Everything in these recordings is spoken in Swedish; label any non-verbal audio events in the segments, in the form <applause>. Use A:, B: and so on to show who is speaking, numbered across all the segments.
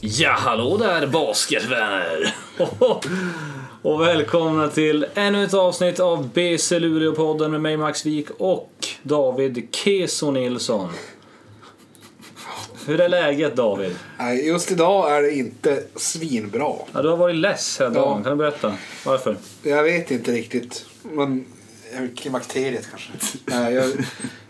A: Ja, hallå där basketvänner! <laughs> och välkomna till ännu ett avsnitt av BC Luleå-podden med mig Max Wik och David Keso Nilsson. Hur är läget David?
B: Nej, just idag är det inte svinbra.
A: Ja, du har varit less hela dagen,
B: Ja.
A: kan du berätta varför?
B: Jag vet inte riktigt. Men... Klimakteriet kanske? Nej, jag,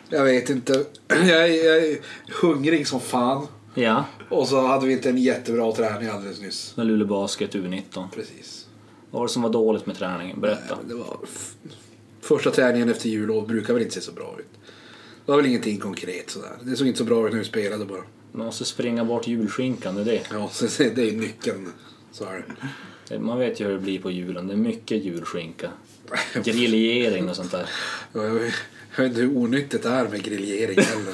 B: jag vet inte. Jag, är- jag är hungrig som fan.
A: Ja,
B: Och så hade vi inte en jättebra träning alldeles nyss.
A: med Luleå Basket U19.
B: Precis.
A: Vad var det som var dåligt med träningen? Berätta.
B: Det var f- första träningen efter jullov brukar väl inte se så bra ut. Det var väl ingenting konkret sådär. Det såg inte så bra ut när vi spelade bara.
A: Man måste springa bort julskinkan, det är det.
B: Ja, så så det är nyckeln. Så är
A: det. Man vet ju hur det blir på julen, det är mycket <laughs> julskinka.
B: det.
A: Grillering och sånt där.
B: Ja, Jag vet jag vet inte hur onyttigt det är med grillering heller.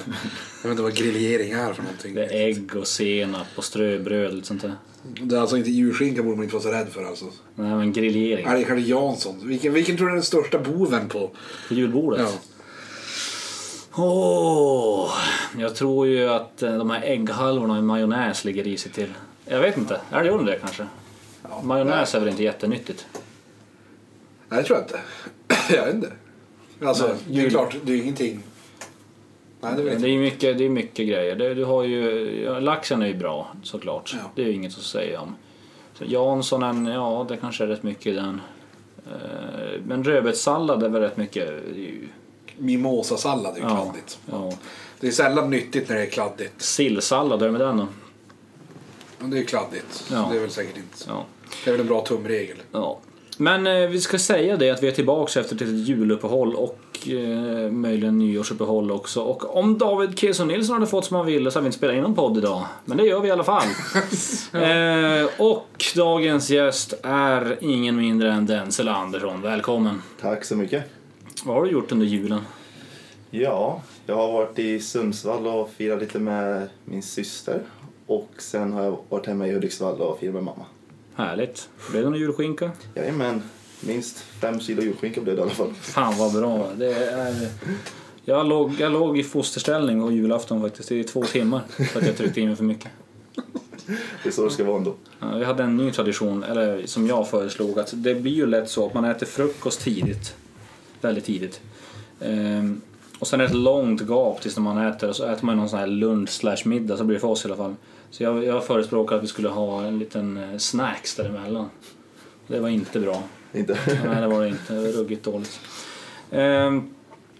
B: Jag vet inte vad grillering är för någonting.
A: Det är ägg och senap och ströbröd och lite sånt där.
B: Det är alltså inte djurskinka borde man inte vara så rädd för alltså.
A: Nej men grillering
B: Älgkarl Jansson. Vilken, vilken tror du är den största boven på?
A: på julbordet.
B: Ja.
A: Åh, jag tror ju att eh, de här ägghalvorna i majonnäs ligger risigt till. Jag vet inte, är det gör de det kanske?
B: Ja.
A: Majonnäs är väl inte jättenyttigt?
B: Nej, det tror jag inte. <clears throat> jag vet inte. Alltså,
A: Nej,
B: det
A: jul-
B: är klart, det är ingenting. Nej, det vet
A: Det
B: jag
A: är ju mycket, det är mycket grejer. Det, du har ju, ja, laxen är ju bra såklart.
B: Ja.
A: Det är ju inget att säga om. Så Janssonen, ja det kanske är rätt mycket i den. Eh, Men rödbetssallad är väl rätt mycket... det är ju-
B: Mimosasallad är ju
A: Ja,
B: kladdigt.
A: ja.
B: Det är sällan nyttigt när det är kladdigt.
A: Sillsallad, hur är det med den då?
B: Men det är kladdigt.
A: Ja.
B: Det är väl säkert inte.
A: Ja.
B: Det är väl en bra tumregel.
A: Ja. Men eh, vi ska säga det att vi är tillbaka efter ett litet juluppehåll och eh, möjligen nyårsuppehåll också. Och om David Keson Nilsson hade fått som han ville så hade vi inte spelat in någon podd idag. Men det gör vi i alla fall. eh, och dagens gäst är ingen mindre än Denzel Andersson. Välkommen.
C: Tack så mycket.
A: Vad har du gjort under julen?
C: Ja, jag har varit i Sundsvall och firat lite med min syster. Och sen har jag varit hemma i Hudiksvall och firat med mamma.
A: Härligt. Blev det någon julskinka?
C: Jajamän, minst fem kilo julskinka blev det i alla fall.
A: Fan vad bra. Det är... jag, låg, jag låg i fosterställning på julafton faktiskt i två timmar för att jag tryckte in mig för mycket.
C: Det är så det ska vara ändå.
A: Ja, Vi hade en ny tradition, eller som jag föreslog, att det blir ju lätt så att man äter frukost tidigt. Väldigt tidigt. Ehm, och sen är det ett långt gap tills när man äter och så äter man någon sån här lunch slash middag, så blir det för oss i alla fall. Så jag, jag förespråkade att vi skulle ha en liten eh, snacks däremellan. Det var inte bra.
C: Inte?
A: Nej, det var det inte. Det var ruggigt dåligt. Ehm,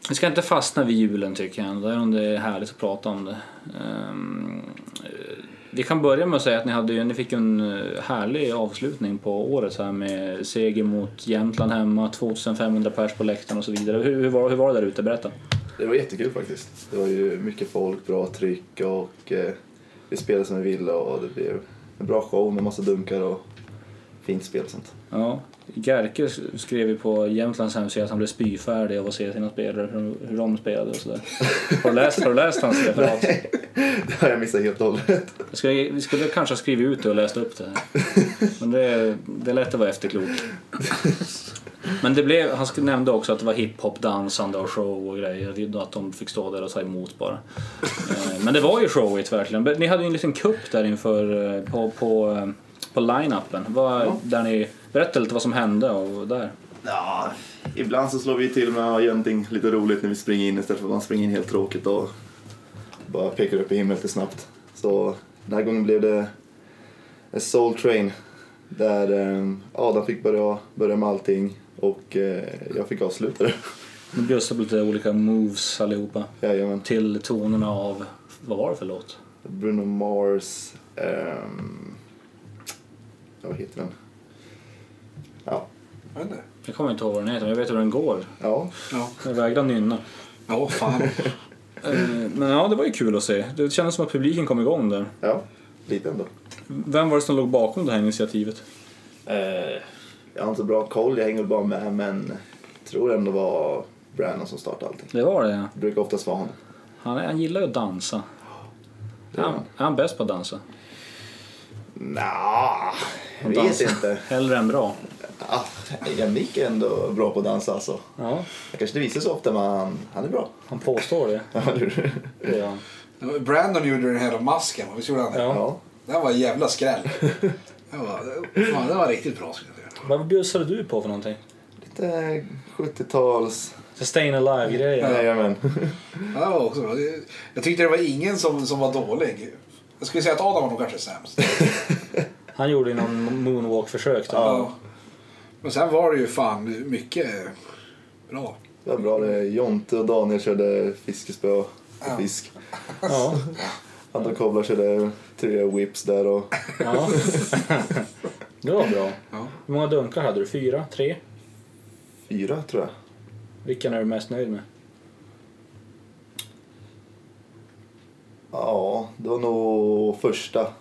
A: vi ska inte fastna vid julen tycker jag ändå, även om det är härligt att prata om det. Ehm, eh, vi kan börja med att säga att ni, hade, ju- ni fick ju en eh, härlig avslutning på året här med seger mot Jämtland hemma, 2500 pers på läktaren och så vidare. Hur, hur, var, hur var det där ute? Berätta.
C: Det var jättekul faktiskt. Det var ju mycket folk, bra tryck och eh, vi spelade som vi ville och det blev en bra show med massa dunkar och fint spel och sånt.
A: Ja, Gerke skrev ju på Jämtlands hemsida att han blev spyfärdig av att se sina spelare, hur, hur de spelade och sådär. Har du läst, har du läst hans referat?
C: Det har jag missat helt och hållet.
A: Jag skulle, vi skulle kanske ha skrivit ut det och läst upp det här. Men det, det är lätt att vara efterklok. Men det blev, han sk- nämnde också att det var hiphop-dansande och show och grejer. Det är ju Att de fick stå där och ta emot bara. Eh, Men det var ju showigt verkligen. Men Ni hade ju en liten kupp där inför eh, på, på, eh, på line-upen. Vad- där ni Berätta lite vad som hände och där.
C: Ja, ibland så slår vi till med att göra någonting lite roligt när vi springer in istället för att man springer in helt tråkigt och bara pekar upp i himlen lite snabbt. Så den här gången blev det en soul train där eh, Adam fick börja, börja med allting och eh, jag fick avsluta det. <laughs>
A: Ni bjussade på lite olika moves allihopa.
C: Jajamän.
A: Till tonerna av, vad var det för låt?
C: Bruno Mars, ehm, ja, vad heter den? Ja,
B: Jag vet inte.
A: Jag kommer inte ihåg vad den heter men jag vet hur den går.
C: ja.
B: Ja,
A: Jag vägrar nynna. <laughs>
B: ja fan.
A: Eh, Men ja, det var ju kul att se. Det kändes som att publiken kom igång där.
C: ja lite ändå.
A: Vem var det som låg bakom det här initiativet?
C: Eh, jag har inte så bra koll, jag hänger väl bara med men tror ändå var Brandon som startade allting.
A: Det var det, ja.
C: Det brukar oftast vara han.
A: Han, han gillar ju att dansa. Är han, är han bäst på att dansa?
C: Nja, jag
A: Han
C: vet
A: dansar
C: inte.
A: Hellre än bra.
C: Ah, Jannik är ändå bra på att dansa alltså.
A: Ja,
C: Han kanske inte visar så ofta men han, han är bra.
A: han påstår det.
C: Ja, eller hur?
A: det gör han.
B: Brandon gjorde den här masken, visst gjorde han det?
A: Ja.
C: Ja.
B: Det här var en jävla skräll. Det var, fan, det var riktigt bra skulle jag säga.
A: Vad bjussade du på för någonting?
C: Lite 70-tals...
A: Sustain alive-grejer.
C: Jajamän.
B: Ja, det var också bra. Jag tyckte det var ingen som, som var dålig. Jag skulle säga att Adam var nog kanske sämst.
A: Han gjorde ju någon moonwalk-försök där.
B: Ja. Men sen var det ju fan mycket bra.
C: Det var bra det. Jonte och Daniel körde fiskespö och
B: Ja.
C: fisk.
A: Ja.
C: Andra koblar körde tre whips där och
A: <laughs> ja. Det var bra.
B: Ja.
A: Hur många dunkar hade du? Fyra? Tre?
C: fyra tror jag.
A: Vilken är du mest nöjd med?
C: Ja, det var nog första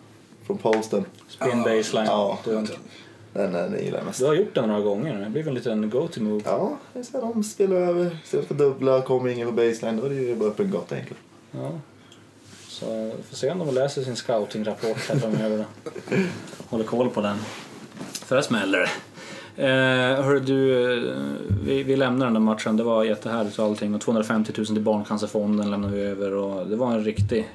C: från posten.
A: Spin baseline?
C: Ja.
A: dunk.
C: Den, den gillar jag mest.
A: Du har gjort den några gånger nu. Det blev en liten go-to-move.
C: Ja, det är så här, de spelar över. Istället för dubbla kom ingen på baseline. Då är det ju bara öppen gata egentligen.
A: Ja. Så vi får se om de läser sin scouting-rapport här framöver. då. Håller koll på den. För det smäller det. Eh, hörru du, eh, vi, vi lämnar den där matchen. Det var jättehärligt och allting. Och 250 000 till Barncancerfonden lämnade vi över. Och det var en riktig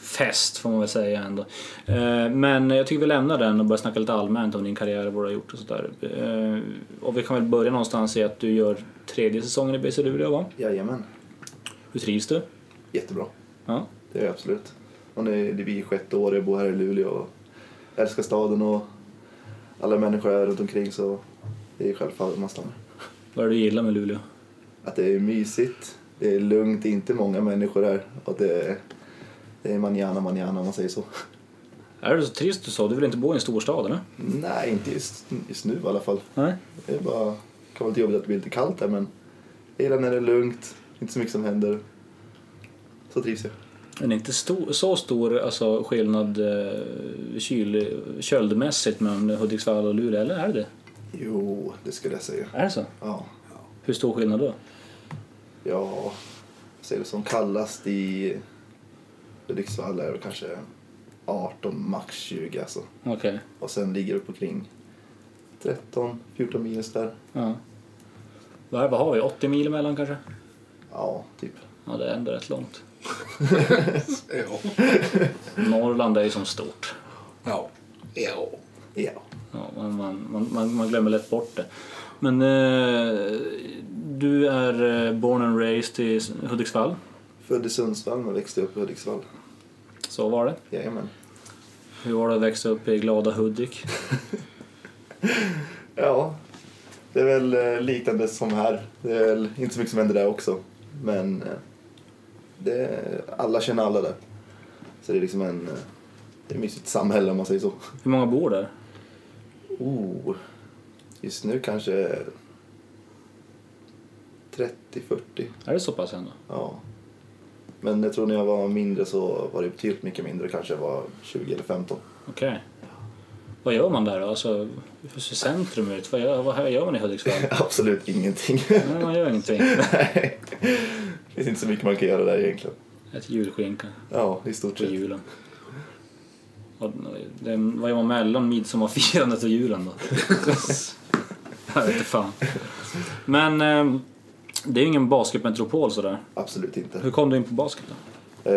A: fest får man väl säga ändå. Eh, men jag tycker vi lämnar den och börjar snacka lite allmänt om din karriär och vad du har gjort och sådär. Eh, och vi kan väl börja någonstans i att du gör tredje säsongen i BC Luleå va?
C: Jajamän.
A: Hur trivs du?
C: Jättebra.
A: Ja.
C: Det är jag absolut. Och nu är det vi sjätte år jag bor här i Luleå. Och jag älskar staden och alla människor här runt omkring så det är självfallet man stannar.
A: Vad är det du gillar med Luleå?
C: Att det är mysigt, det är lugnt, det är inte många människor här och det är, det är manjana manjana om man säger så.
A: Är det så trist du sa? Du vill inte bo i en storstad eller?
C: Nej, inte just, just nu i alla fall.
A: Nej.
C: Det är bara, det kan vara lite jobbigt att det blir lite kallt här men jag gillar när det är lugnt, inte så mycket som händer. Så trivs jag.
A: Men det är inte stor, så stor alltså, skillnad eh, kyl, köldmässigt mellan Hudiksvall och Luleå, eller är det det?
C: Jo, det skulle jag säga.
A: Är det så?
C: Ja.
A: Hur stor skillnad då?
C: Ja, vad säger du som kallast i Hudiksvall är det kanske 18, max 20 alltså.
A: Okej.
C: Och sen ligger det på kring 13, 14 minus där.
A: Ja. Vad, är- vad har vi? 80 mil emellan kanske?
C: Ja, typ.
A: Ja, det är ändå rätt långt.
B: Ja.
A: Norrland är ju som stort.
B: Ja. ja.
C: Ja.
A: Ja, man, man, man- man, man glömmer lätt bort det. Men eh, du är eh, born and raised i Hudiksvall.
C: Född i Sundsvall men växte upp i Hudiksvall.
A: Så var det.
C: Jajamän.
A: Hur var det att växa upp i glada Hudik?
C: Ja, det är väl eh, liknande som här. Det är väl inte så mycket som händer där också. Men eh, det, alla känner alla där. Så det är liksom en... eh, Det är ett mysigt samhälle om man säger så.
A: Hur många bor där?
C: Oh, just nu kanske 30-40.
A: Är det så pass ändå?
C: Ja. Men jag tror när jag var mindre så var det betydligt mycket mindre. Kanske jag var 20 eller 15.
A: Okej. Vad gör man där då? Alltså, hur ser centrum ut? Vad gör, vad gör man i
C: <laughs>
A: Hudiksvall?
C: <laughs> Absolut ingenting. <laughs>
A: Nej, man gör ingenting.
C: Nej. Det finns inte så mycket man kan göra där egentligen.
A: Ett julskinka
C: Ja, i stort
A: på
C: sett.
A: julen. Och det, vad gör man mellan midsommarfirandet och julen då? Jag vet inte fan. Men eh, det är ju ingen basketmetropol sådär.
C: Absolut inte.
A: Hur kom du in på basket då?
C: Eh,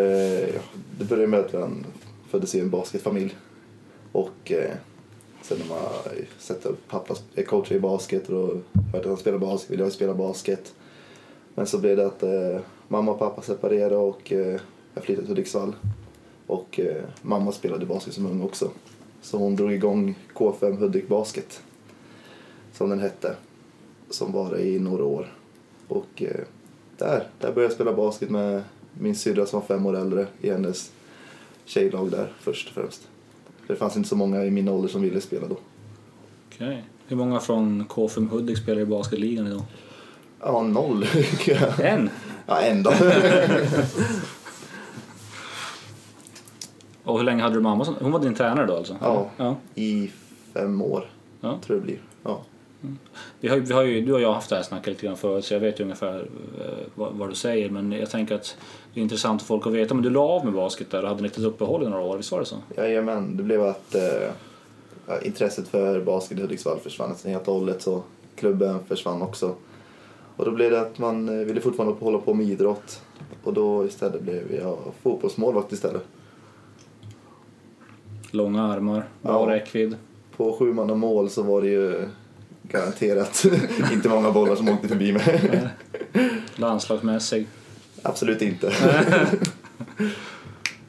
C: ja, det började med att man föddes i en basketfamilj. Och eh, sen när man sett att pappa är coach eh, i basket och då hört att han spelar basket ville jag spela basket. Men så blev det att eh, mamma och pappa separerade och eh, jag flyttade till Hudiksvall. Och eh, mamma spelade basket som ung också. Så hon drog igång K5 Hudik Basket, som den hette. Som var det i några år. Och eh, där, där började jag spela basket med min syrra som var fem år äldre i hennes tjejlag där först och främst. För det fanns inte så många i min ålder som ville spela då.
A: Okej. Hur många från K5 Hudik spelar i basketligan idag?
C: Ja, noll. <laughs>
A: En!
C: ja, ändå.
A: Och hur länge hade du mamma som... Hon var din tränare då alltså?
C: Ja.
A: ja.
C: <laughs> I fem år,
A: Ja.
C: tror jag det blir. Ja.
A: Vi har, ju- vi har ju, du och jag har haft det här snacket lite grann förut så jag vet ju ungefär eh, vad, vad du säger men jag tänker att det är intressant för folk att veta. Men du la av med basket där och hade ett litet uppehåll i några år, visst var det så?
C: Jajamän, det blev att eh, ja, intresset för basket i Hudiksvall försvann nästan helt och hållet så klubben försvann också. Och då blev det att man eh, ville fortfarande hålla på med idrott och då istället blev jag fotbollsmålvakt istället.
A: Långa armar, bra
C: Ja.
A: räckvidd.
C: På sju man och mål så var det ju garanterat <laughs> inte många bollar som åkte förbi mig. <laughs>
A: Landslagsmässig.
C: Absolut inte.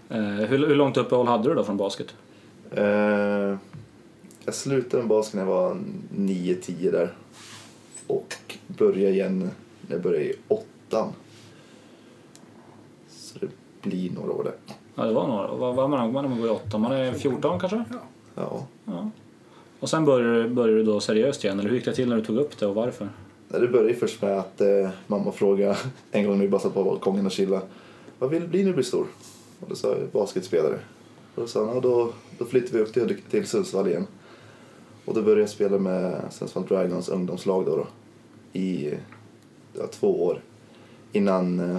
A: Eh, hur, hur långt uppehåll hade du då från basket?
C: Eh, jag slutade med basket när jag var 9-10 där. Och började igen när jag började i åttan. Så det blir några år där.
A: Ja, det var några. Vad var man när man går i åtta? Man är 14 kanske?
C: Ja.
A: Ja. Och sen började, började du då seriöst igen, eller hur gick det till när du tog upp det och varför?
C: Det började först med att eh, mamma frågade en gång när vi bara satt på balkongen och chillade. Vad vill du bli när du blir stor? Och då sa jag basketspelare. Och då sa hon, ja, då, då flyttar vi upp till, till Sundsvall igen. Och då började jag spela med Sundsvall Dragons ungdomslag då, då i ja, två år. Innan eh,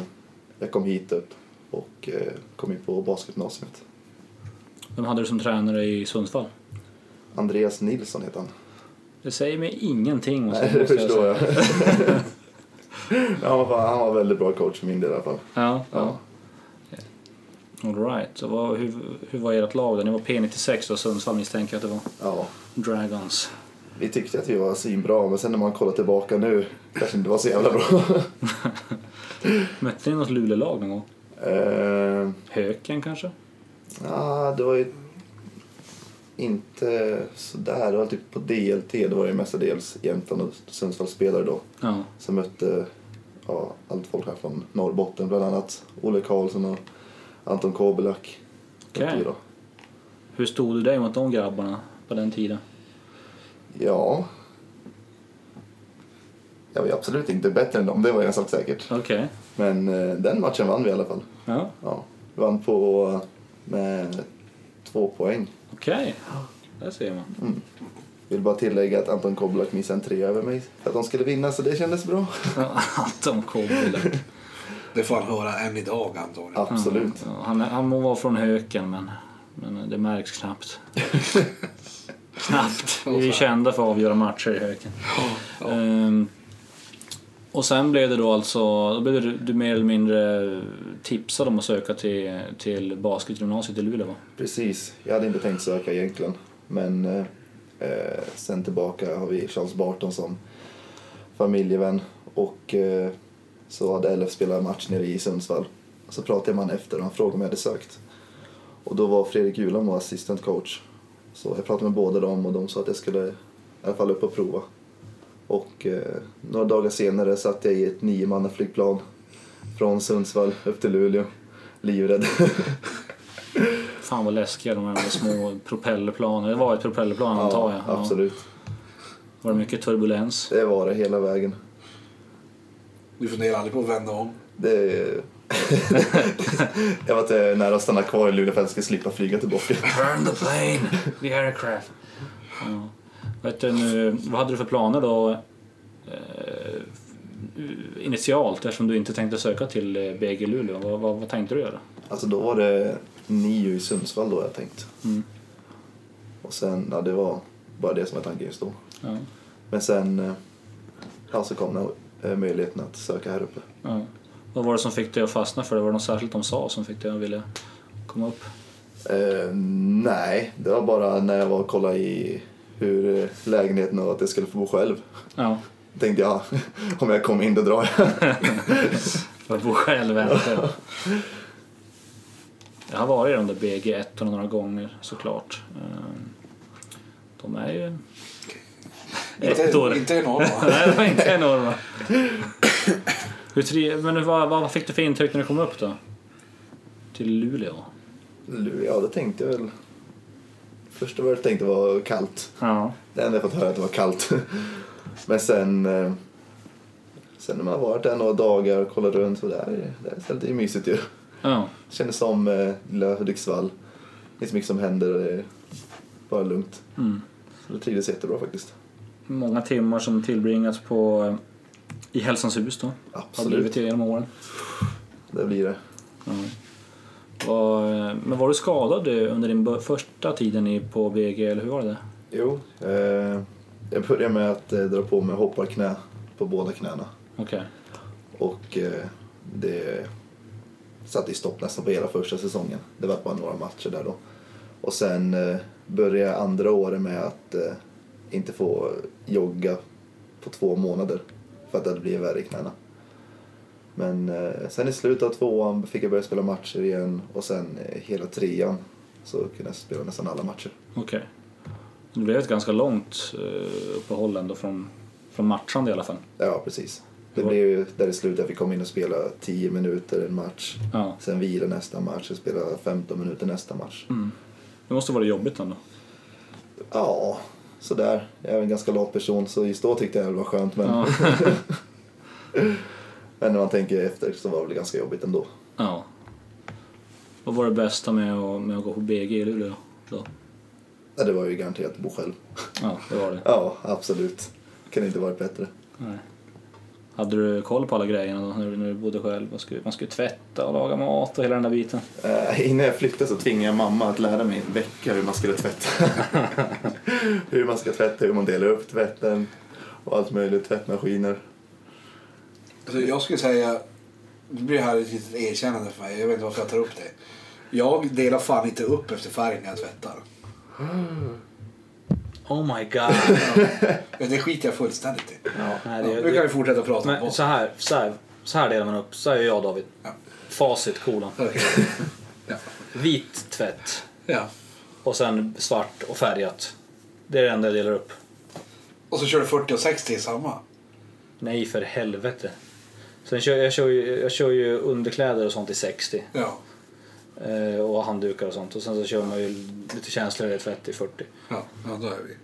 C: jag kom hit upp och eh, kom in på basketgymnasiet.
A: Vem hade du som tränare i Sundsvall?
C: Andreas Nilsson heter han.
A: Det säger mig ingenting. måste-
C: Nej, det
A: måste
C: förstår
A: säga.
C: jag. <laughs> han, var, fan- han var väldigt bra coach för min del i alla fall.
A: Ja,
C: Ja.
A: ja. All right. Så vad, hur, hur var ert lag då? Ni var P96 och Sundsvall misstänker jag att det var.
C: ja.
A: Dragons.
C: Vi tyckte att vi var svinbra, men sen när man kollar tillbaka nu kanske inte var så jävla bra. <laughs>
A: Mötte ni något Luleå-lag någon gång?
C: Eh,
A: Höken kanske?
C: ja, det var ju inte sådär. Det var typ på DLT, det var ju mestadels Jämtland och Sundsvallsspelare då.
A: Ja.
C: Som mötte ja, allt folk här från Norrbotten, bland annat Olle Karlsson och Anton Kobelak.
A: Okej.
C: Mötte vi då.
A: Hur stod du dig mot de grabbarna på den tiden?
C: Ja. Jag var ju absolut inte bättre än dem, det var en sak säkert.
A: Okej.
C: Men eh, den matchen vann vi i alla fall.
A: Ja.
C: Ja, vann på eh, med två poäng.
A: Okej. Där ser man.
C: Vill bara tillägga att Anton Koblak missade en tre över mig för att de skulle vinna så det kändes bra.
A: <laughs> Ja, de kom till det.
B: Det får han höra än idag antagligen.
C: Absolut.
A: Ja, han, är- han må vara från Höken men, men det märks <laughs> knappt. knappt. Vi är kända för att avgöra matcher i Höken. Ehm, och sen blev det då alltså, då blev du, du mer eller mindre tipsad om att söka till, till basketgymnasiet i Luleå va?
C: Precis, jag hade inte tänkt söka egentligen. Men eh, eh, sen tillbaka har vi Charles Barton som familjevän och eh, så hade LF spelat match nere i Sundsvall. Så pratade jag med honom efter och han frågade om jag hade sökt. Och då var Fredrik Julan vår assistant coach. Så jag pratade med båda dem och de sa att jag skulle i alla fall upp och prova. Och eh, några dagar senare satt jag i ett niomannaflygplan från Sundsvall upp till Luleå, livrädd.
A: Fan vad läskiga de här med små propellerplanen. Det var ett propellerplan antar
C: <laughs>
A: jag. Ja.
C: absolut.
A: Var det mycket turbulens?
C: Det var det hela vägen.
B: Du funderar aldrig på att vända om?
C: Det... <laughs> jag var inte nära att stanna kvar i Luleå för att jag skulle slippa flyga tillbaka.
A: Turn the plane! The aircraft! Ja. Vet du, nu, vad hade du för planer då eh, initialt eftersom du inte tänkte söka till eh, BG Luleå? Vad, vad, vad tänkte du göra?
C: Alltså då var det nio i Sundsvall då jag tänkt.
A: Mm.
C: Och sen, ja det var bara det som var tanken just då.
A: Ja,
C: Men sen, eh, ja så kom den, eh, möjligheten att söka här uppe.
A: ja. Vad var det som fick dig att fastna för det? Var det något särskilt de sa som fick dig att vilja komma upp?
C: Eh, nej, det var bara när jag var och kollade i hur eh, lägenheten och att jag skulle få bo själv.
A: Ja,
C: Tänkte jag, <laughs> om jag kommer in då drar jag. <laughs>
A: jag bor själv inte. Jag har varit i de där BG 1 några gånger såklart. Eh, De är ju... Ettor.
B: Inte, inte enorma.
A: Nej, det var inte enorma. hur tre, men hur- vad, vad fick du för intryck när du kom upp då? Till Luleå?
C: Luleå, ja det tänkte jag väl. Första vad jag tänkte var kallt.
A: Ja.
C: Det enda jag fått höra är att det var kallt. <laughs> Men sen... eh, Sen när man har varit där några dagar och kollat runt så där, är- där är stället är ju mysigt ju.
A: ja.
C: Kändes som eh, lilla Hudiksvall. Det är så mycket som händer och det är bara lugnt.
A: Mm.
C: Så det trivdes jättebra faktiskt.
A: Många timmar som tillbringats på, eh, i Hälsans hus då. Har blivit
C: Absolut,
A: det genom åren.
C: det blir det.
A: Ja. Var, men var du skadad eh, under din bör- första tiden i- på BG eller hur var det?
C: Jo, eh, jag började med att eh, dra på mig hopparknä på båda knäna.
A: Okej.
C: Och eh, det satte ju stopp nästan på hela första säsongen. Det var bara några matcher där då. Och sen eh, började jag andra året med att eh, inte få jogga på två månader för att det hade blivit värre i knäna. Men eh, sen i slutet av tvåan fick jag börja spela matcher igen och sen eh, hela trean så kunde jag spela nästan alla matcher.
A: Okej. Det blev ett ganska långt eh, uppehåll ändå från, från matchande i alla fall.
C: Ja, precis. Det
A: Ja.
C: blev ju där i slutet att vi kom in och spelade 10 minuter en match.
A: Ja.
C: Sen vila nästa match, sen spela 15 minuter nästa match.
A: Mm. Det måste vara jobbigt ändå.
C: Ja, sådär. Jag är en ganska lat person så just då tyckte jag det var skönt men,
A: Ja. <laughs>
C: men när man tänker efter så var det väl ganska jobbigt ändå.
A: ja. Vad var det bästa med att, med att gå på BG i Luleå då?
C: Ja, det var ju garanterat att bo själv.
A: Ja, det var det.
C: Ja, absolut. Kan inte varit bättre.
A: Nej. Hade du koll på alla grejerna då när du, när du bodde själv? Man skulle, man skulle tvätta och laga mat och hela den där biten.
C: Eh, innan jag flyttade så tvingade jag mamma att lära mig en vecka hur man skulle tvätta. <laughs> hur man ska tvätta, hur man delar upp tvätten och allt möjligt. Tvättmaskiner.
B: Alltså, jag skulle säga, nu blir det här ett litet erkännande för mig. Jag vet inte varför jag tar upp det. Jag delar fan inte upp efter färg när jag tvättar.
D: Oh my god.
B: Det skiter jag fullständigt i.
D: Nej, det,
B: Nu kan vi fortsätta prata om
D: men,
B: vad.
D: så, här, så, här, så här delar man upp. Så här gör jag och David.
B: Ja.
D: Facit kolon.
B: Okej.
D: Vit tvätt
B: Ja.
D: och sen svart och färgat. Det är det enda jag delar upp.
B: Och så kör du 40 och 60 i samma.
D: Nej för helvete. Sen kör, jag, kör ju, jag kör ju underkläder och sånt i 60
B: Ja.
D: eh, och handdukar och sånt och sen så kör man ju lite känsligare tvätt i 40.
B: Ja, ja då är vi.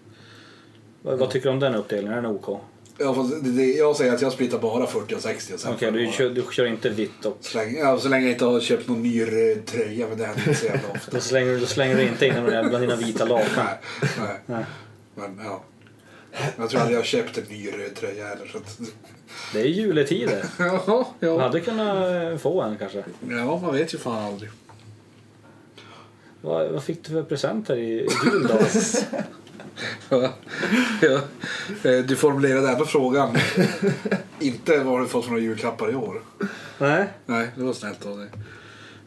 D: Vad, vad tycker du om den uppdelningen? Är den OK? Okej,
B: Ja, fast det, det, jag säger att jag splittar bara 40 och 60 och sen får jag
D: du,
B: bara-
D: kör, du kör inte vitt och
B: Så länge, ja, så länge jag inte har köpt någon ny röd tröja, men det händer inte så jävla ofta.
D: då slänger, då slänger du inte in den där bland dina vita lakan.
B: nej, nej. Men ja. Jag tror aldrig jag har köpt en ny röd tröja heller. Så att... <laughs>
D: Det är juletider.
B: ja,
D: Man
B: ja.
D: hade kunnat få en kanske.
B: ja, man vet ju fan aldrig. <laughs>
D: Vad, vad fick du för presenter i, i jul <laughs> då?
B: Ja. Ja. Eh, Du formulerade även <laughs> frågan. inte vad har du fått för några julklappar i år.
D: Nej?
B: Nej, det var snällt av dig.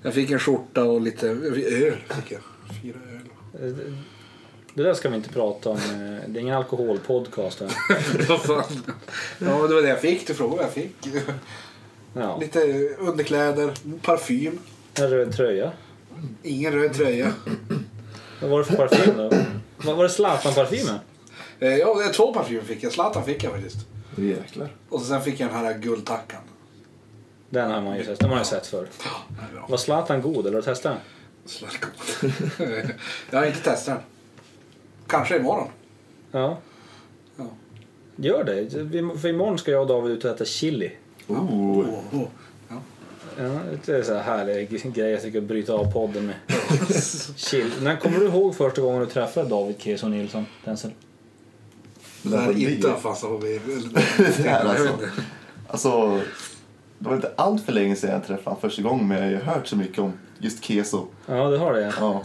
B: Jag fick en skjorta och lite jag fick öl. Fick jag. Fyra öl.
D: eh, Det där ska vi inte prata om. eh, Det är ingen alkoholpodcast. här.
B: <laughs> Vad fan. Ja, det var det jag fick. Du frågade vad jag fick. <laughs>
D: Ja.
B: Lite underkläder, parfym.
D: En röd tröja.
B: Ingen röd tröja.
D: Vad var det för parfym då? Vad var det Zlatan-parfymen?
B: Eh, Ja, det är två parfymer fick jag. Zlatan fick jag faktiskt.
C: Jäklar.
B: Och sen fick jag den här guldtackan.
D: Den har man ju sett, den har man ju sett förr.
B: Ja, den är bra.
D: Var Zlatan god eller har du testat den?
B: Slarkon. <laughs> jag har inte testat den. Kanske imorgon.
D: Ja.
B: Ja.
D: Gör det. Vi- För imorgon ska jag och David ut och äta chili.
C: Ooh.
B: Oh, oh. Ja.
D: Ja, det är en sån här härlig g- grej jag tycker att bryta av podden <laughs> med. Chili. När kommer du ihåg första gången du träffade David Keso Nilsson? Denzel?
B: Det där
C: var
B: är inte
C: dyrt.
B: att fastna på mig.
C: Det här alltså. Alltså, det var inte allt för länge sedan jag träffade honom första gången men jag har hört så mycket om just keso.
D: Ja, det har det.
C: Ja.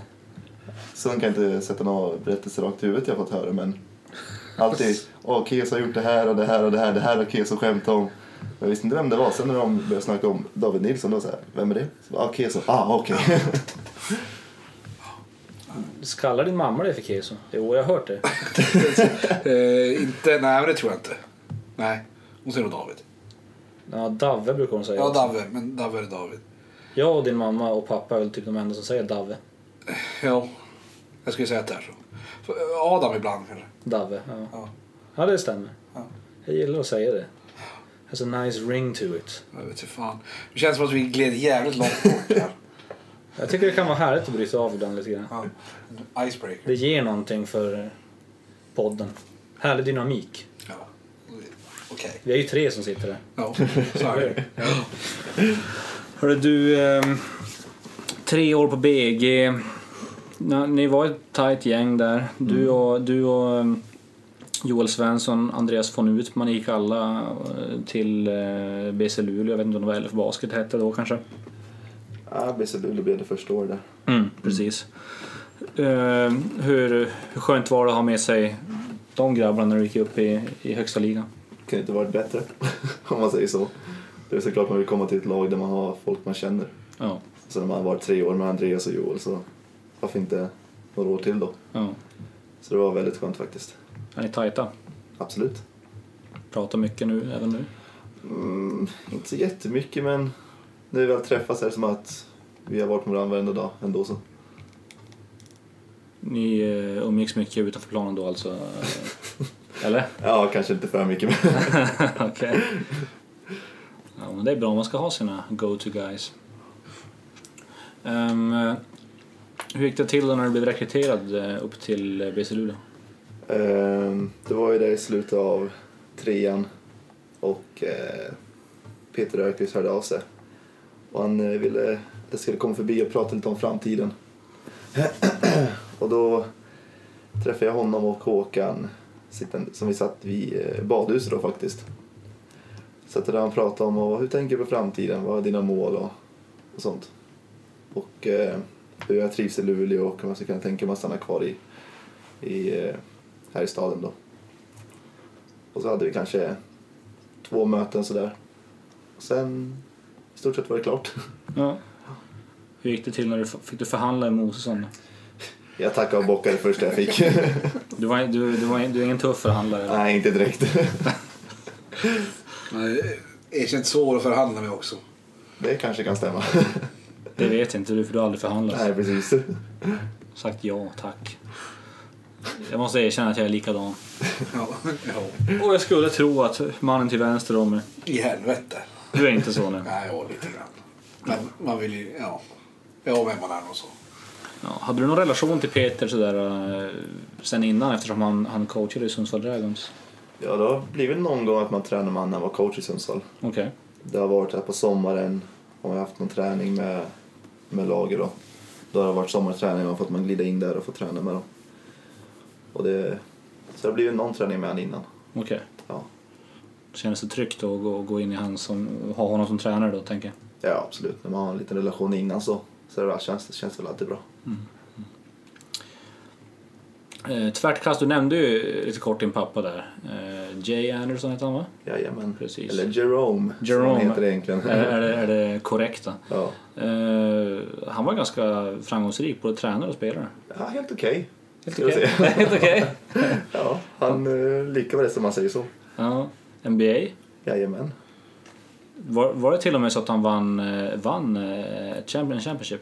C: Sen kan jag inte sätta några berättelser rakt i huvudet jag fått höra men alltid åh keso har gjort det här och det här och det här, det här har keso skämtat om. Jag visste inte vem det var. Sen när de började snacka om David Nilsson då så här, vem är det? Så bara, ah keso, ah okej. <laughs>
D: Kallar din mamma dig för Keso? Jo, jag har hört det.
B: Eh, inte, nej, men det tror jag inte. Nej, hon ser nog David.
D: Ja, Dave brukar hon säga.
B: Ja,
D: också.
B: Dave, men Dave är David.
D: Jag och din mamma och pappa är väl typ de enda som säger Dave.
B: Ja, jag skulle säga att det är så. För, eh, Adam ibland kanske.
D: Dave, ja.
B: Ja,
D: Ja, det stämmer.
B: Ja.
D: Jag gillar att säga det. Has a nice ring to it.
B: jag vet inte fan. Det känns som att vi gled jävligt långt bort här.
D: Jag tycker det kan vara härligt att bryta av ibland lite grann.
B: Ja. en Icebreaker.
D: Det ger någonting för eh, podden. Härlig dynamik.
B: Ja. Okej.
D: Vi är ju tre som sitter där.
B: Ja, så är det.
A: Hörru du, ehm, tre år på BG. Ni- Ni var ett tajt gäng där. Du och, du och ehm, Joel Svensson, Andreas von Utman gick alla eh, till eh, BC Luleå. Jag vet inte om det var LF Basket hette då kanske.
C: ah, BC Luleå blev det första året där.
A: Mm, precis. Eh, hur, hur skönt var det att ha med sig de grabbarna när du gick upp i, i högsta ligan?
C: Kunde inte varit bättre <laughs> om man säger så. Det är såklart man vill komma till ett lag där man har folk man känner.
A: Ja.
C: Sen när man har varit tre år med Andreas och Joel så varför inte några år till då.
A: Ja.
C: Så det var väldigt skönt faktiskt.
A: Är ni tajta?
C: Absolut.
A: Pratar mycket nu, även nu?
C: Mm, inte så jättemycket men när vi väl träffas är det som att vi har varit med varandra varenda dag ändå så.
A: Ni eh, umgicks mycket utanför planen då <laughs> alltså? eh, Eller? <laughs>
C: Ja, kanske inte för mycket men
A: Okej. Ja, men det är bra man ska ha sina go-to guys. Ehm, eh, hur gick det till då när du blev rekryterad eh, upp till eh, BC Luleå?
C: Ehm, Det var ju där i slutet av trean och eh, Peter Ökvist hörde av sig. Och han eh, ville att jag skulle komma förbi och prata lite om framtiden. <clears throat> och då träffade jag honom och Håkan sittande- som vi satt vid eh, badhuset då faktiskt. Satt där och pratade om och hur tänker du på framtiden, vad är dina mål och, och sånt. Och eh, hur jag trivs i Luleå och om jag skulle kunna tänka mig att stanna kvar i, i eh, här i staden då. Och så hade vi kanske två möten sådär. Och sen i stort sett var det klart. <laughs>
A: Ja. Hur gick det till när du f- fick du förhandla med Mosesson? då?
C: Jag tackade och bockade först jag fick.
A: Du, var, du, du, var, du är ingen tuff förhandlare? eller?
C: Nej, inte direkt. <laughs>
B: Nej, Erkänt eh, svår att förhandla med också.
C: Det kanske kan stämma. <laughs>
A: Det vet inte du för du har aldrig förhandlat.
C: Nej, precis.
A: Sagt ja, tack. Jag måste erkänna att jag är likadan.
B: Ja, ja.
A: Och jag skulle tro att mannen till vänster om mig,
B: I helvete.
A: du är inte så nu.
B: Nej, ja, lite grann. Men man vill ju, ja. Ja, vem man är och så.
A: Ja, hade du någon relation till Peter sådär eh, sen innan eftersom han, han coachade i Sundsvall Dragons?
C: Ja, det har blivit någon gång att man tränar med han när han var coach i Sundsvall.
A: Okej.
C: Det har varit här på sommaren. Har man haft någon träning med, med lager då. Då har det varit sommarträning och fått man glida in där och få träna med dem. Och det, så det har blivit någon träning med han innan.
A: Okej.
C: Ja,
A: Kändes det tryggt då att gå, gå in i hans som, ha honom som tränare då tänker jag.
C: Ja, absolut. När man har en liten relation innan så, så det känns det känns väl alltid bra.
A: Eh, tvärtkast, du nämnde ju lite kort din pappa där. Eh, Jay Anderson heter han va?
C: Jajamän.
A: Precis.
C: Eller Jerome, som
A: Jerome.
C: han heter egentligen.
A: Är, är, det, är det korrekt då?
C: ja.
A: Eh, han var ganska framgångsrik både tränare och spelare.
C: ja, helt okej.
A: Helt
C: Ska vi
A: okej.
C: se.
A: Helt <laughs> okej.
C: Ja, han eh, lyckades med det som man säger så.
A: Ja. NBA.
C: Jajamän.
A: Var, var det till och med så att han vann, eh, vann eh, Champion- Championship?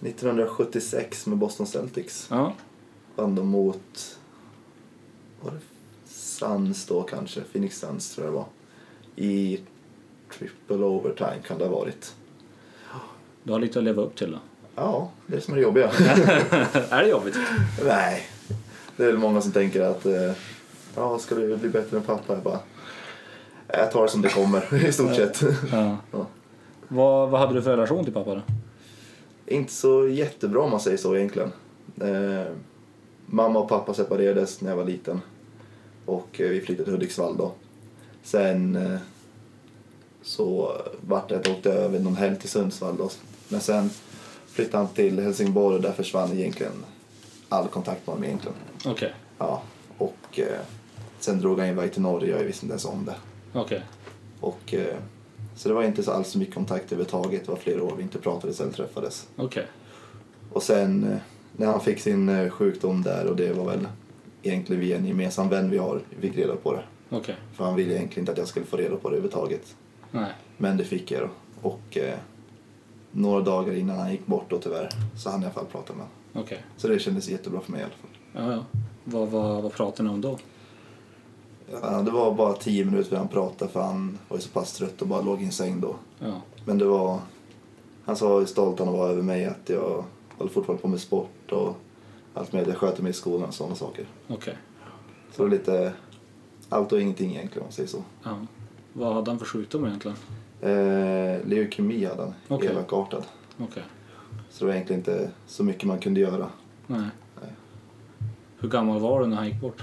C: 1976 med Boston Celtics
A: Ja.
C: vann de mot... Var det Suns då kanske? Phoenix Suns tror jag det var. I triple overtime kan det ha varit.
A: Du har lite att leva upp till då.
C: Ja, det är det som är det jobbiga.
A: <laughs> är det jobbigt?
C: Nej. Det är väl många som tänker att eh, ja, ska du bli bättre än pappa? Jag bara, jag tar det som det kommer <laughs> i stort sett.
A: Ja.
C: Ja.
A: Vad, vad hade du för relation till pappa då?
C: Inte så jättebra om man säger så egentligen. Eh, mamma och pappa separerades när jag var liten och eh, vi flyttade till Hudiksvall då. Sen eh, så vart det att jag åkte över någon helg till Sundsvall då. Men sen flyttade han till Helsingborg och där försvann egentligen all kontakt med honom egentligen.
A: Okej.
C: Ja, och eh, sen drog han iväg till Norge och jag visste inte ens om det.
A: Okej.
C: Och, eh, så det var inte så alls så mycket kontakt överhuvudtaget. Det var flera år vi inte pratades eller träffades.
A: Okej.
C: Och sen eh, när han fick sin eh, sjukdom där och det var väl egentligen via en gemensam vän vi har, vi fick reda på det.
A: Okej.
C: För han ville egentligen inte att jag skulle få reda på det överhuvudtaget.
A: Nej.
C: Men det fick jag då. Och eh, några dagar innan han gick bort då tyvärr så hann jag i alla fall prata med honom.
A: Okej.
C: Så det kändes jättebra för mig i alla fall.
A: Ja, ja. Vad, vad, vad pratade ni om då?
C: Ja, det var bara tio minuter han pratade för han var ju så pass trött och bara låg i en säng då.
A: Ja.
C: Men det var... Han sa hur stolt han var över mig att jag håller fortfarande på med sport och allt med att jag sköter mig i skolan och sådana saker.
A: Okej.
C: Så det var lite allt och ingenting egentligen om man säger så.
A: Ja. Vad hade han för sjukdom egentligen?
C: Eh, leukemi hade han,
A: Okej.
C: elakartad.
A: Okej.
C: Så det var egentligen inte så mycket man kunde göra.
A: Nej.
C: Nej.
A: Hur gammal var du när han gick bort?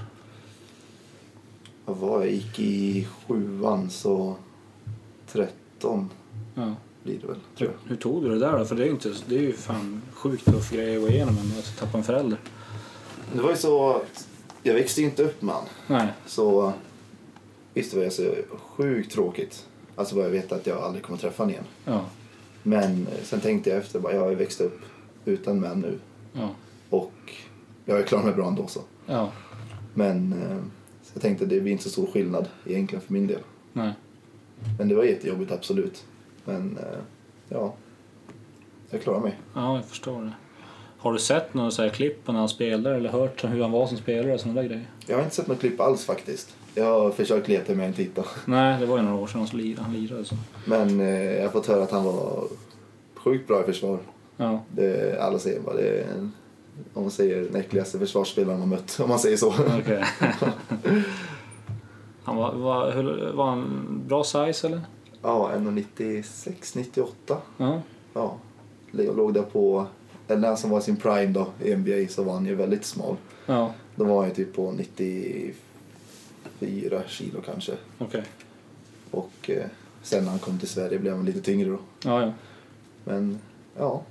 C: Vad var jag? gick i sjuan så 13
A: Ja.
C: blir det väl, tror
A: Hur,
C: jag.
A: hur tog du det där då? För det är ju, inte, det är ju fan sjukt tuff grej att gå igenom ändå, att tappa en förälder.
C: Det var ju så att jag växte ju inte upp med han.
A: Nej.
C: Så visst var det så sjukt tråkigt. Alltså bara jag vet att jag aldrig kommer träffa honom igen.
A: Ja.
C: Men eh, sen tänkte jag efter, bara, jag har ju växt upp utan män nu.
A: Ja.
C: Och jag är klar med bra ändå så.
A: Ja,
C: Men eh, så jag tänkte det blir inte så stor skillnad egentligen för min del.
A: nej.
C: Men det var jättejobbigt absolut. Men eh, ja, jag klarar mig.
A: Ja, jag förstår det. Har du sett några så här klipp på när han spelar eller hört hur han var som spelare och sådana där grejer?
C: Jag har inte sett något klipp alls faktiskt. Jag har försökt leta men jag har inte hittat.
A: Nej, det var ju några år sedan han lirade. Han lirade så.
C: Men eh, jag har fått höra att han var sjukt bra i försvar.
A: Ja,
C: Det, alla säger bara det är en, om man säger den äckligaste försvarsspelaren man mött, <laughs> om man säger så.
A: okej. <laughs> han var, var, hur, var han bra size eller?
C: Ja, 1,96, 98.
A: Ja,
C: Ja, jag låg där på, eller när han som var i sin prime då i NBA så var han ju väldigt smal.
A: ja
C: Då var han ju typ på 94 kilo kanske.
A: okej.
C: Och eh, sen när han kom till Sverige blev han lite tyngre då.
A: Ja, ja.
C: Men ja,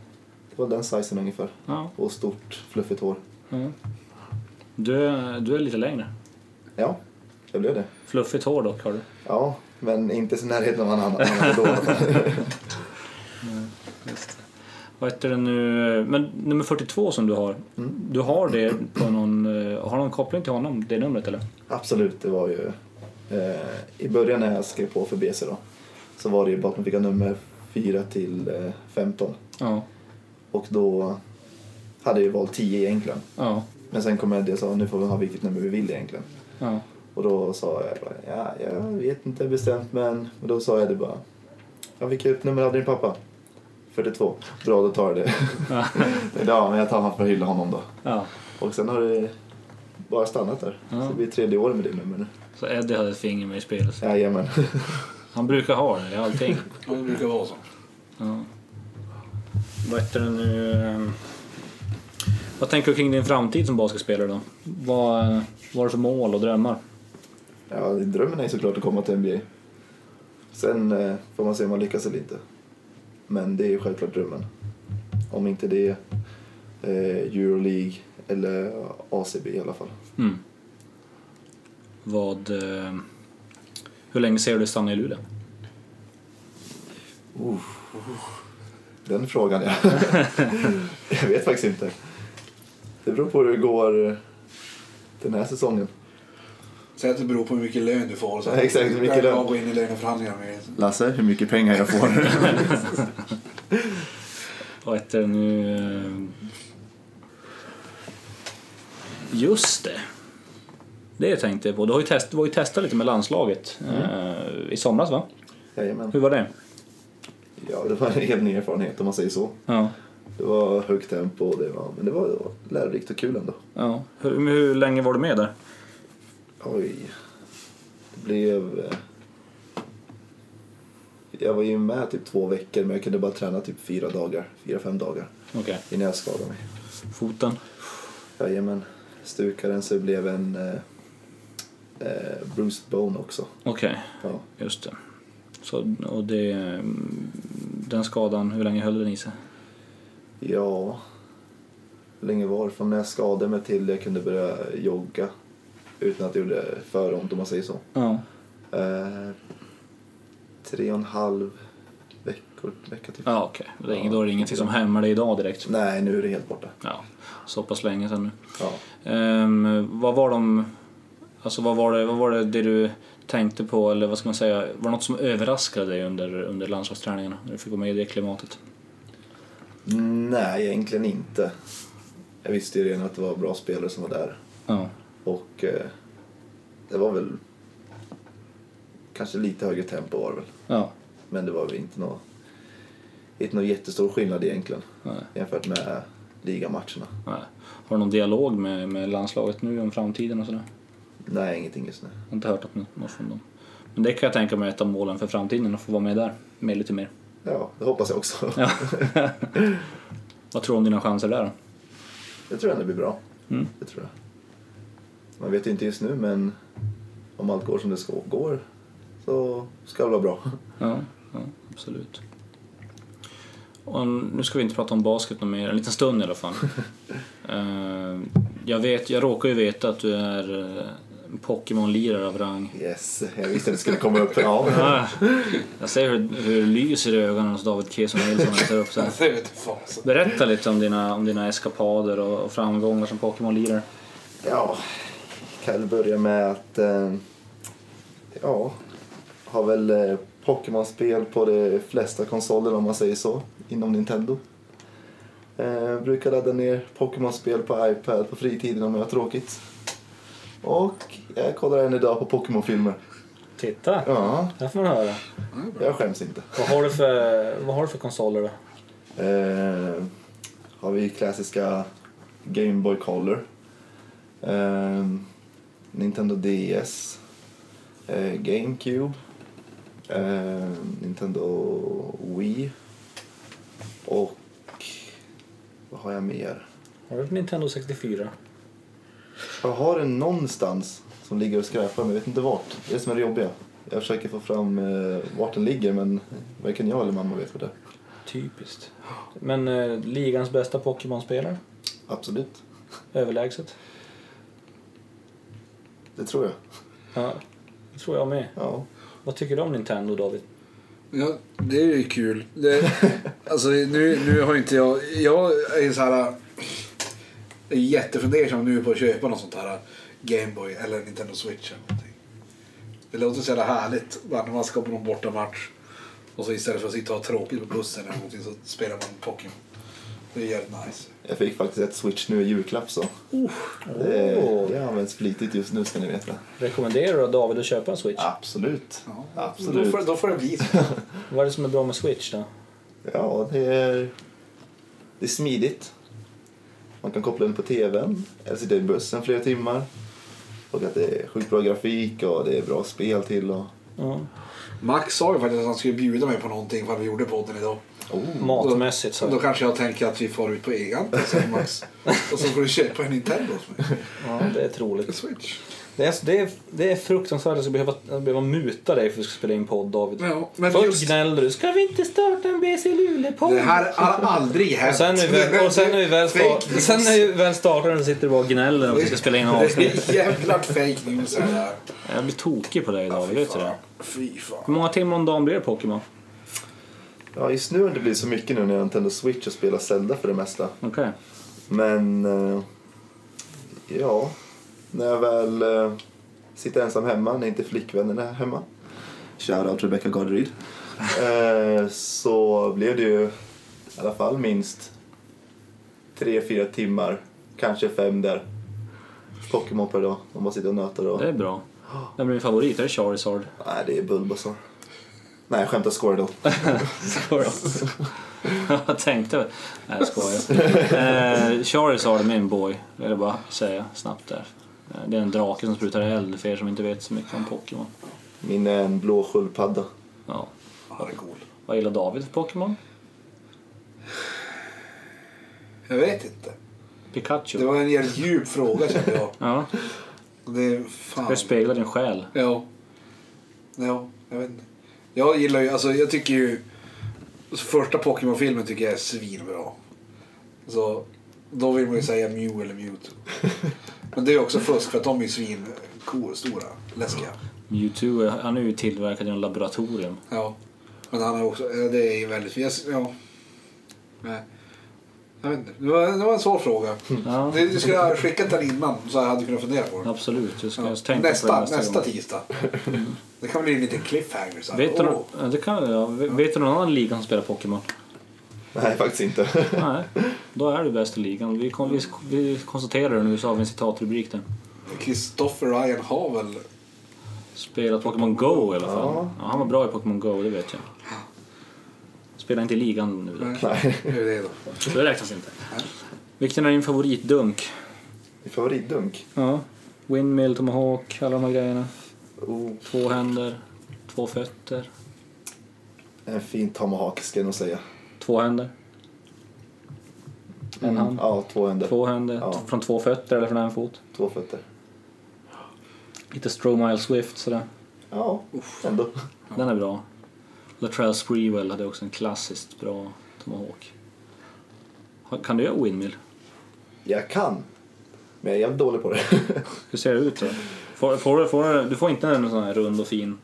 C: det var den sizen ungefär.
A: ja,
C: Och stort fluffigt hår.
A: ja. Du, du är lite längre.
C: Ja, jag blev det.
A: Fluffigt hår dock har du.
C: Ja, men inte i närheten av vad han han hade då. i alla fall.
A: Vad heter det nu? Men nummer 42 som du har. Du har det på någon... eh, Har någon koppling till honom, det numret eller?
C: Absolut, det var ju... Eh, I början när jag skrev på för BC då så var det ju bara att man fick ha nummer 4 till eh, 15.
A: Ja,
C: Och då hade jag ju valt 10 egentligen.
A: ja,
C: Men sen kom jag till det och sa nu får vi ha vilket nummer vi vill egentligen.
A: ja.
C: Och då sa jag bara, ja, jag vet inte bestämt men... Och då sa jag det bara, ja, vilket nummer hade din pappa? 42. Bra, då tar jag det. <laughs> ja, men jag tar honom för att hylla honom då.
A: ja.
C: Och sen har det bara stannat där. Så det blir tredje året med det numret nu.
A: Så Eddie hade ett finger med i spelet.
C: Jajamän.
A: Han brukar ha det i allting. <laughs>
B: Ja, det brukar vara så.
A: Ja. Vad heter det nu? ehm, Vad tänker du kring din framtid som basketspelare då? Vad, eh, vad har du för mål och drömmar?
C: Ja, drömmen är ju såklart att komma till NBA. Sen eh, får man se om man lyckas eller inte. Men det är ju självklart drömmen. Om inte det är eh, Euroleague eller ACB i alla fall.
A: Mm. Vad... eh, Hur länge ser du dig stanna i Luleå?
C: Den frågan, ja. <laughs> jag vet faktiskt inte. Det beror på hur det går den här säsongen.
B: Säg att det beror på hur mycket lön du får. Så
C: Ja, <laughs> exakt, hur mycket
B: Jag kan
C: lön.
B: gå in i löneförhandlingar
C: <laughs>
B: med
C: Lasse, hur mycket pengar jag får.
A: Vad heter det nu? ehm, Just det. Det tänkte jag på. Du har ju test, var ju testat lite med landslaget eh, i somras va?
C: <laughs> Jajamän.
A: Hur var det?
C: Ja, det var en helt ny erfarenhet om man säger så.
A: Ja.
C: Det var högt tempo, och det var, men det var lärorikt och kul ändå.
A: ja. Hur, hur länge var du med där?
C: Oj. Det blev... eh, Jag var ju med typ två veckor men jag kunde bara träna typ fyra dagar, fyra, fem dagar
A: Okej.
C: innan jag skadade mig.
A: Foten?
C: Jajamän. Stukade den så det blev en eh, eh, Bruce Bone också.
A: Okej,
C: Ja.
A: just det. Så, och det, mm, den skadan, hur länge höll den i sig?
C: ja. Hur länge var det? Från när jag skadade mig till jag kunde börja jogga utan att det gjorde för ont om man säger så.
A: Ja.
C: Eh, tre och en halv veckor, vecka typ.
A: Ja, okej. Det är inget- Då är det ingenting som hämmar dig idag direkt.
C: Nej, nu är det helt borta.
A: Ja, så pass länge sedan nu.
C: Ja.
A: Ehm, vad var de... Alltså vad var, det, vad var det, det du tänkte på eller vad ska man säga? Var det något som överraskade dig under, under landslagsträningarna? När du fick gå med i det klimatet?
C: Nej, egentligen inte. Jag visste ju redan att det var bra spelare som var där.
A: Ja.
C: Och eh, det var väl kanske lite högre tempo var det väl.
A: Ja.
C: Men det var väl inte någon inte nå jättestor skillnad egentligen
A: Nej.
C: jämfört med ligamatcherna.
A: Nej. Har du någon dialog med, med landslaget nu om framtiden och sådär?
C: Nej, ingenting just nu.
A: Jag har inte hört något, något från dem. Men det kan jag tänka mig är ett av målen för framtiden, att få vara med där. Med lite mer.
C: Ja, det hoppas jag också. <laughs>
A: Ja. Vad tror du om dina chanser där då?
C: Jag tror ändå det blir bra.
A: Mm.
C: Det tror jag. Man vet ju inte just nu, men om allt går som det ska går så ska det vara bra.
A: Ja, ja absolut. Och nu ska vi inte prata om basket något mer, en liten stund i alla fall. Eh, jag, vet, jag råkar ju veta att du är eh, en Pokémon-lirare av
C: <laughs>
A: rang.
C: <laughs> Yes, jag visste att det skulle komma upp. <laughs> Ja,
A: Ah, jag ser hur, hur det lyser i ögonen hos David Keson Nilsson när jag tar upp så här.
B: Det vet fasen.
A: Berätta lite om dina, om dina eskapader och, och framgångar som Pokémon-lirare.
C: Ja, kan väl börja med att... Eh, ja, har väl eh, Pokémon-spel på de flesta konsoler om man säger så, inom Nintendo. Eh, brukar ladda ner Pokémon-spel på iPad på fritiden om jag har tråkigt. Och jag kollar än idag på Pokémon-filmer.
A: Titta,
C: Ja,
A: där får man höra.
C: jag skäms inte.
A: Vad har du för, vad har du för konsoler då?
C: Eh, har vi klassiska Game Boy Color. Eh, Nintendo DS. Eh, GameCube. Eh, Nintendo Wii. Och vad har jag mer?
A: Har du Nintendo 64?
C: Jag har den någonstans som ligger och skräpar men jag vet inte vart. Det är det som är det jobbiga. Jag försöker få fram eh, vart den ligger men varken jag eller mamma vet vad det är.
A: Typiskt. Men eh, ligans bästa Pokémon-spelare?
C: Absolut.
A: Överlägset?
C: Det tror jag.
A: Ja, det tror jag med.
C: Ja.
A: Vad tycker du om Nintendo, David?
B: Ja, det är ju kul. <laughs> Det, alltså nu, nu har inte jag... Jag är så här... är jättefundersam nu på att köpa något sånt här Gameboy eller Nintendo Switch eller någonting. Det låter så jävla härligt bara när man ska på någon bortamatch och så istället för att sitta och ha tråkigt på bussen eller någonting så spelar man Pokémon. Det är jävligt nice.
C: Jag fick faktiskt ett Switch nu i julklapp så. Det,
A: Oh.
C: det används flitigt just nu ska ni veta.
A: Rekommenderar du David att köpa en Switch?
C: Absolut.
B: Ja,
C: Absolut.
B: Då får, då får det bli så.
A: Vad är det som är bra med Switch då?
C: Ja, det är, det är smidigt. Man kan koppla den på tvn eller sitta i bussen flera timmar. Och att det är sjukt bra grafik och det är bra spel till och...
A: Ja.
B: Max sa ju faktiskt att han skulle bjuda mig på någonting för vi gjorde podden idag. Mm.
C: Oh.
A: Matmässigt så.
B: Då, då kanske jag tänker att vi far ut på egen sen Max. Och så får du köpa en Nintendo åt mig.
A: Ja, det är troligt.
B: En Switch.
A: Det är, det är, det är fruktansvärt att jag behöva, att behöva muta dig för att vi ska spela in podd David.
B: Ja, men
A: Först
B: just-
A: gnällde du, ska vi inte starta en BC Luleå-podd?
B: Det här har aldrig hänt.
A: Och sen när vi väl, och sen när vi väl, sta,
B: Fake news.
A: sen när vi väl startar den sitter du bara och gnäller om vi ska spela
B: <laughs>
A: in avsnitt.
B: Det är jävla fake news det här.
A: Jag blir tokig på dig David, vet du det?
B: Fy
A: Hur
B: fan.
A: många timmar om dagen blir det Pokémon?
C: Ja, just nu har det inte blivit så mycket nu när jag har Nintendo Switch och spelar Zelda för det mesta.
A: Okej.
C: Men... eh, Ja. När jag väl eh, sitter ensam hemma, när inte flickvännen är hemma. Shoutout Rebecca Garderyd. eh, så blev det ju i alla fall minst tre fyra timmar, kanske fem där. Pokémon per dag, om man sitter och nöter och...
A: Det är bra. Det blir min favorit, det är Charizard. <laughs>
C: Nej, det är Bulbasaur. Nej, jag skämtar. Squirtle.
A: Skojar. <laughs> Jag tänkte... Nej, jag skojar. Eh, Charizard är min boy, vill jag bara säga snabbt där. Eh, Det är en drake som sprutar eld för er som inte vet så mycket om Pokémon.
C: Min är en blå sköldpadda.
A: Ja.
B: Ja, det är cool.
A: Vad gillar David för Pokémon?
B: Jag vet inte. Det
A: Pikachu?
B: var en jävligt djup fråga kände jag.
A: Ja.
B: Det är fan.
A: Det speglar din själ.
B: Ja. Ja, jag vet inte. Jag gillar ju, alltså jag tycker ju... alltså, Första Pokémon-filmen tycker jag är svinbra. Så då vill man ju säga Mew
A: <laughs>
B: eller Mewtwo. Men det är ju också fusk för att de är ju svinkor, stora, läskiga.
A: Mewtwo, eh, han är ju tillverkad i en laboratorium.
B: Ja. Men han är också, ja, det är ju väldigt, jag, ja. Nej. Jag vet inte, det var, det var en svår fråga.
A: Ja,
B: Du, du skulle ha skickat den innan så jag hade kunnat fundera på den.
A: absolut. Jag ska
B: Ja.
A: tänka på det
B: Nästa, nästa,
A: gång. <laughs>
B: tisdag. Det kan bli en liten cliffhanger. Så här.
A: Vet du,
B: Åh.
A: ja, det kan, ja, vet du någon annan liga som spelar
B: <laughs>
A: Pokémon?
C: Nej, faktiskt inte. <laughs>
A: Nej, då är du bäst i ligan. Vi, kom, vi, vi konstaterar det nu så har vi en citatrubrik där.
B: Kristoffer Ryan har väl...
A: Spelat Pokémon Go i alla fall.
C: Ja.
A: Ja. han var bra i Pokémon Go, det vet jag. Spelar inte i ligan nu dock,
C: Nej.
B: Hur är det då?
A: så det räknas inte. Vilken är din favoritdunk?
C: Min favoritdunk?
A: Ja. Windmill, Tomahawk, alla de här grejerna.
C: Oh,
A: Två händer, två fötter,
C: en fin tomahawk ska jag nog säga.
A: två händer. En hand,
C: Ja, två händer.
A: två händer,
C: Ja.
A: t- från två fötter eller från en fot.
C: Två fötter.
A: Lite Stromile Swift sådär.
C: Ja, ändå.
A: Den är bra. Latrell Sprewell hade också en klassiskt bra Tomahawk. Ha- Kan du göra windmill?
C: Jag kan, men jag är jävligt dålig på det. <laughs>
A: Hur ser det ut då? Får, får, du- får, du- du får inte en sån här rund och fin?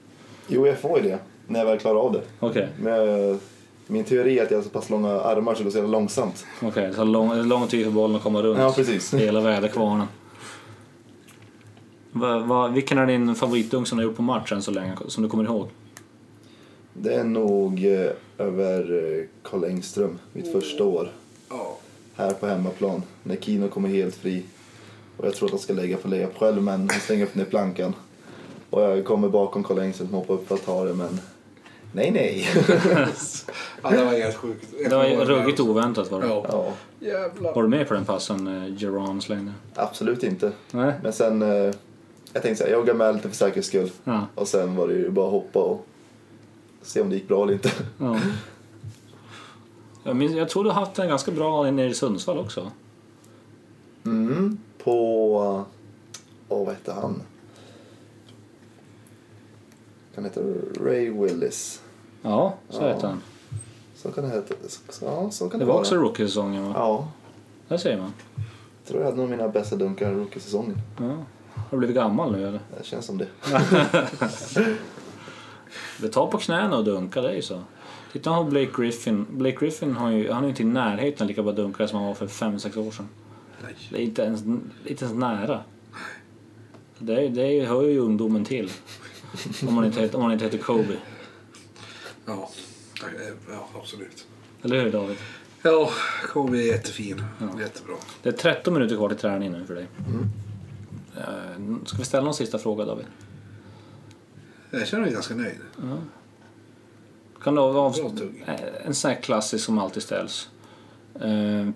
C: Jo, jag får ju det när jag väl klarar av det.
A: Okej,
C: Men jag, min teori är att jag har så pass långa armar så det går så jävla långsamt.
A: okej. Det tar lång, det är lång tid för bollen att komma runt.
C: Ja, precis.
A: Hela väderkvarnen. Va, va, vilken är din favoritdunk som du har gjort på matchen så länge, som du kommer ihåg?
C: Det är nog eh, över eh, Karl Engström, mitt första år.
B: Ja.
C: Här på hemmaplan, när Kino kommer helt fri. Och jag tror att han ska lägga på layup själv, men han slänger upp den i plankan. Och jag kommer bakom Karl Engström och hoppar upp för att ta det, men nej, nej. <laughs>
B: ja, det var helt sjukt. Jag
A: Det var
B: kommer ihåg
A: ruggigt
B: också.
A: oväntat var det.
B: alltså- Ja.
C: ja,
B: Jävlar.
A: Var du med på den passen eh, Geron slängde?
C: absolut inte.
A: Nej.
C: Men sen, eh, jag tänkte så här, jag joggar med lite för säkerhets skull.
A: Ja.
C: Och sen var det ju bara att hoppa och se om det gick bra eller inte.
A: ja. Jag, minns, jag tror du har haft en ganska bra nere i Sundsvall också.
C: Mm. På... eh, Åh, vad hette han? Han heter Ray Willis.
A: Ja, så
C: Ja.
A: heter han.
C: Så kan det heta. så- Ja, så kan
A: Det
C: det,
A: var
C: vara.
A: också rookie-säsongen va?
C: Ja.
A: Där ser man.
C: Jag tror jag hade nog mina bästa dunkar i rookie-säsongen.
A: Ja. Har du blivit gammal nu eller?
C: Det känns som det.
A: Det tar på knäna och dunka, det är ju så. Titta på Blake Griffin. Blake Griffin har ju, han är ju inte i närheten lika bra dunkare som han var för 5-6 år sedan.
B: Nej.
A: Det är inte ens, inte ens nära. Det, är- det är- hör ju ungdomen till. Om man inte, heter- om man inte heter Kobe.
B: Ja. Eh, ja, absolut.
A: Eller hur David?
B: Ja, Kobe är jättefin. Jättebra.
A: Det är 13 minuter kvar till träning nu för dig. Eh, Ska vi ställa någon sista fråga David?
B: Jag känner mig ganska nöjd.
A: Kan du av, av,
B: Bra tugg.
A: eh, en sån här klassisk som alltid ställs. Eh,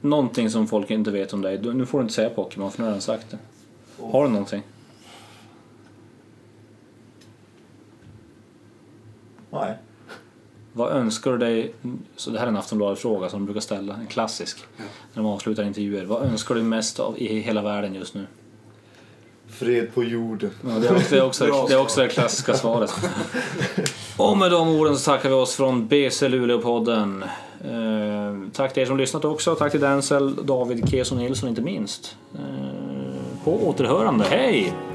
A: någonting som folk inte vet om dig. Du, nu får du inte säga Pokémon för nu har jag redan sagt det. Har du någonting?
C: Nej.
A: Vad önskar du dig? Så det här är en Aftonbladet-fråga som de brukar ställa, en klassisk. När de avslutar intervjuer. Vad önskar du mest av i hela världen just nu?
C: Fred på jorden.
A: Ja, det, är också, det, är också,
B: Bra
A: det är också det klassiska svaret. Och med de orden så tackar vi oss från BC Luleå-podden. Eh, tack till er som lyssnat också. Tack till Denzel, David, Keso Nilsson inte minst. Eh, på återhörande. Hej!